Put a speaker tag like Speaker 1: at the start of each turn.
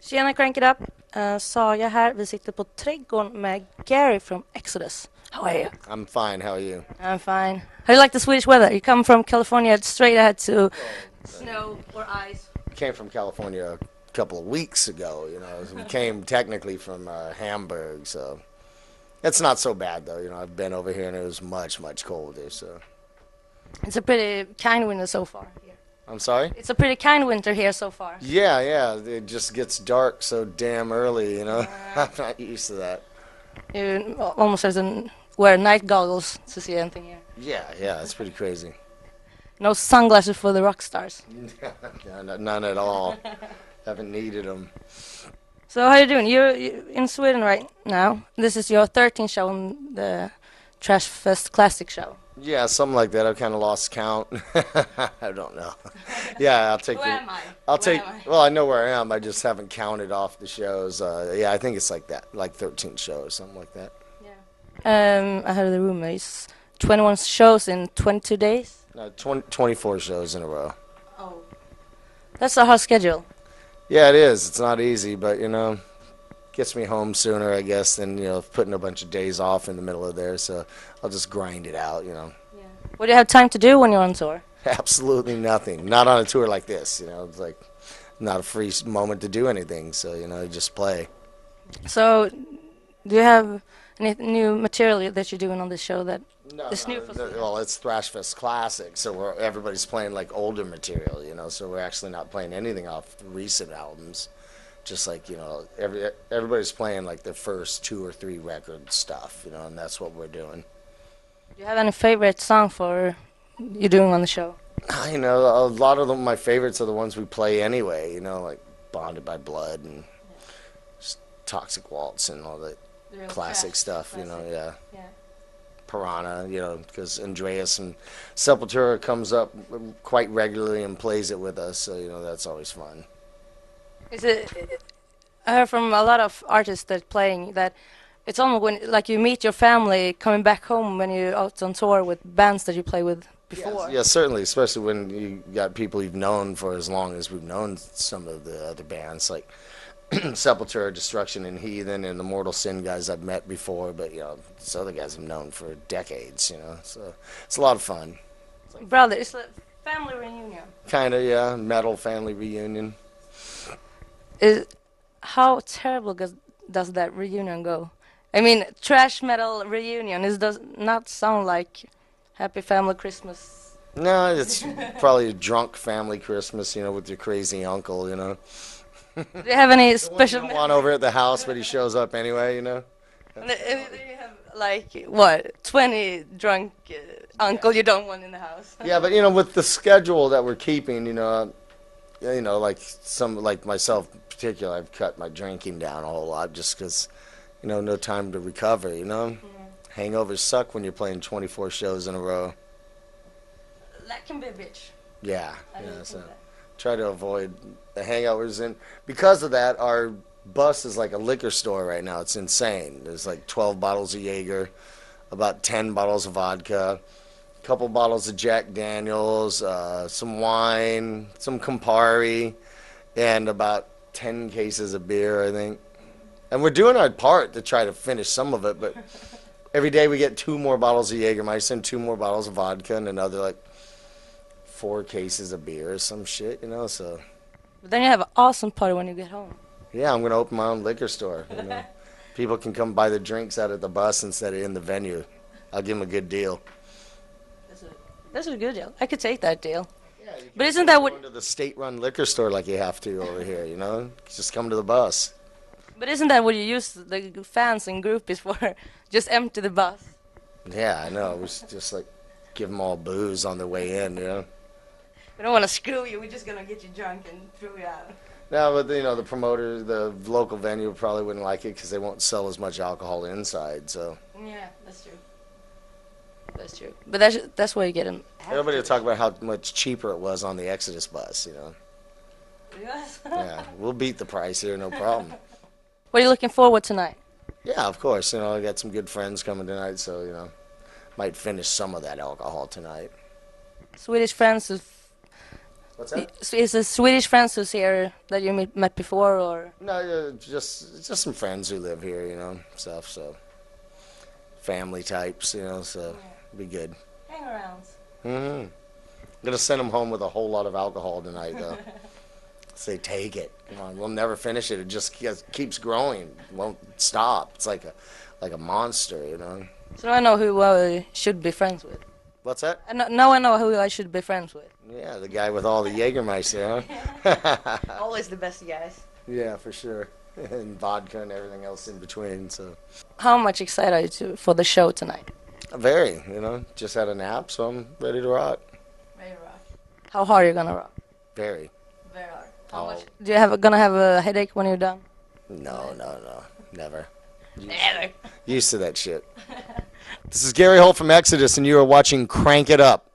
Speaker 1: Tjena Crank It Up! Eh, Saga här. Vi sitter på Trädgården med Gary from Exodus. How are you?
Speaker 2: I'm fine. How are you?
Speaker 1: I'm fine. How do you like the Swedish weather? You come from California straight ahead to snow or ice.
Speaker 2: Came from California a couple of weeks ago. You know, we came technically from uh, Hamburg, so it's not so bad though. You know, I've been over here and it was much much colder. So
Speaker 1: It's a pretty kind winter so far. here.
Speaker 2: I'm sorry.
Speaker 1: It's a pretty kind winter here so far.
Speaker 2: Yeah, yeah. It just gets dark so damn early. You know, I'm not used to that.
Speaker 1: You al- almost have to wear night goggles to see anything here.
Speaker 2: Yeah, yeah. It's pretty crazy.
Speaker 1: No sunglasses for the rock stars.
Speaker 2: None, none at all. Haven't needed them.
Speaker 1: So how you doing? You're, you in Sweden right now. This is your 13th show in the Trash Fest Classic show.
Speaker 2: Yeah, something like that. I've kind of lost count. I don't know. Yeah, I'll take.
Speaker 1: Who
Speaker 2: your-
Speaker 1: am I? Where
Speaker 2: I'll take.
Speaker 1: am I?
Speaker 2: Well, I know where I am. I just haven't counted off the shows. Uh, yeah, I think it's like that, like 13 shows, something like that.
Speaker 1: Um, I heard the rumor is 21 shows in 22 days.
Speaker 2: No, 20, 24 shows in a row.
Speaker 1: Oh, that's a hard schedule.
Speaker 2: Yeah, it is. It's not easy, but you know, gets me home sooner, I guess, than you know putting a bunch of days off in the middle of there. So I'll just grind it out. You know,
Speaker 1: What do you have time to do when you're on tour?
Speaker 2: absolutely nothing. Not on a tour like this. You know, it's like not a free s- moment to do anything. So you know, you just play.
Speaker 1: So, do you have any new material that you're doing on this show that
Speaker 2: No,
Speaker 1: It's
Speaker 2: no,
Speaker 1: new for
Speaker 2: the- well, it's Thrashfest Classic, so we're, everybody's playing like older material, you know. So we're actually not playing anything off recent albums, just like you know, every everybody's playing like their first two or three record stuff, you know, and that's what we're doing.
Speaker 1: do you have any favorite song for you're doing on the show?
Speaker 2: You know, a lot of them, my favorites are the ones we play anyway, you know, like Bonded by Blood and s- Toxic Waltz and all that classic stuff, you know, yeah.
Speaker 1: Yeah.
Speaker 2: Piranha, you know, because Andreas and Sepultura comes up quite regularly and plays it with us, so you know that's always fun.
Speaker 1: Is it? I heard from a lot of artists that playing that it's almost when like you meet your family coming back home when you're out on tour with bands that you play with before.
Speaker 2: Yeah, certainly, especially when you got people you've known for as long as we've known some of the other bands like Sepultura, Destruction, and Heathen, and the Mortal Sin guys I've met before, but you know, these other guys I've known for decades, you know, so it's a lot of fun.
Speaker 1: Brother, it's a family reunion.
Speaker 2: Kind of, yeah, metal family reunion.
Speaker 1: Is how terrible goes, does that reunion go? I mean, trash metal reunion. It does not sound like happy family Christmas.
Speaker 2: No, it's probably a drunk family Christmas, you know, with your crazy uncle, you know.
Speaker 1: Do you have any
Speaker 2: Special
Speaker 1: special?
Speaker 2: one over at the house, but he shows up anyway. You know.
Speaker 1: And then- and then you have like what twenty drunk uh, uncle you don't want in the house.
Speaker 2: Yeah, but you know, with the schedule that we're keeping, you know, uh, you know, like some, like myself in particular, I've cut my drinking down a whole lot just 'cause, you know, no time to recover. You know, hangovers suck when you're playing 24 shows in a row.
Speaker 1: That can be a bitch.
Speaker 2: Yeah, yeah.
Speaker 1: don't
Speaker 2: So
Speaker 1: think that-
Speaker 2: try to avoid the hangovers, and because of that, our bus is like a liquor store right now. It's insane. There's like 12 bottles of Jaeger, about 10 bottles of vodka, a couple bottles of Jack Daniels, uh, some wine, some Campari, and about 10 cases of beer, I think. And we're doing our part to try to finish some of it, but every day we get two more bottles of Jägermeister, two more bottles of vodka, and another like four cases of beer or some shit, you know. So
Speaker 1: But then you have an awesome party when you get home.
Speaker 2: yeah, I'm gonna open my own liquor store. You know? People can come buy the drinks out at the bus instead of in the venue. I'll give them a good deal.
Speaker 1: That's a, that's a good deal. I could take that deal.
Speaker 2: Yeah, you
Speaker 1: But isn't that what?
Speaker 2: to the state-run liquor store like you have to over here, you know? Just come to the bus.
Speaker 1: But isn't that what you use the fans and groupies for? Just empty the bus.
Speaker 2: Yeah, I know. We should just like give them all booze on their way in, you know.
Speaker 1: We don't want to screw you. We're just gonna get you drunk and throw you out.
Speaker 2: No, but you know the promoter, the local venue probably wouldn't like it because they won't sell as much alcohol inside. So
Speaker 1: Yeah, that's true. That's true. But that's that's why you get an.
Speaker 2: everybody will talk about how much cheaper it was on the Exodus bus, you know.
Speaker 1: Yes.
Speaker 2: Yeah, we'll beat the price here, no problem.
Speaker 1: What are you looking forward tonight?
Speaker 2: Yeah, of course. You know, I got some good friends coming tonight, so you know, might finish some of that alcohol tonight.
Speaker 1: Swedish friends is
Speaker 2: What's that?
Speaker 1: So is it Swedish friends who's here that you meet, met before, or
Speaker 2: No, uh, just just some friends who live here, you know, stuff. So family types, you know, so be good.
Speaker 1: hangarounds?
Speaker 2: Mm-hmm. Gonna send them home with a whole lot of alcohol tonight, though. Say, take it. Come on, we'll never finish it. It just ke- keeps growing. It won't stop. It's like a like a monster, you know.
Speaker 1: So now I know who I should be friends with.
Speaker 2: What's that?
Speaker 1: And now I know who I should be friends with.
Speaker 2: Yeah, the guy with all the Jägermeister, huh?
Speaker 3: Always the best guys.
Speaker 2: yeah, for sure. And vodka and everything else in between. So
Speaker 1: How much excited are you to, for the show tonight?
Speaker 2: very, you know, just had a nap, so I'm ready to rock.
Speaker 1: Very rock. How hard are you gonna rock?
Speaker 2: Very.
Speaker 1: Very hard.
Speaker 2: How much-
Speaker 1: Do you have gonna have a headache when you're done?
Speaker 2: No, no, no, never.
Speaker 1: Never.
Speaker 2: Used to that shit. this is Gary Holt from Exodus, and you are watching Crank It Up.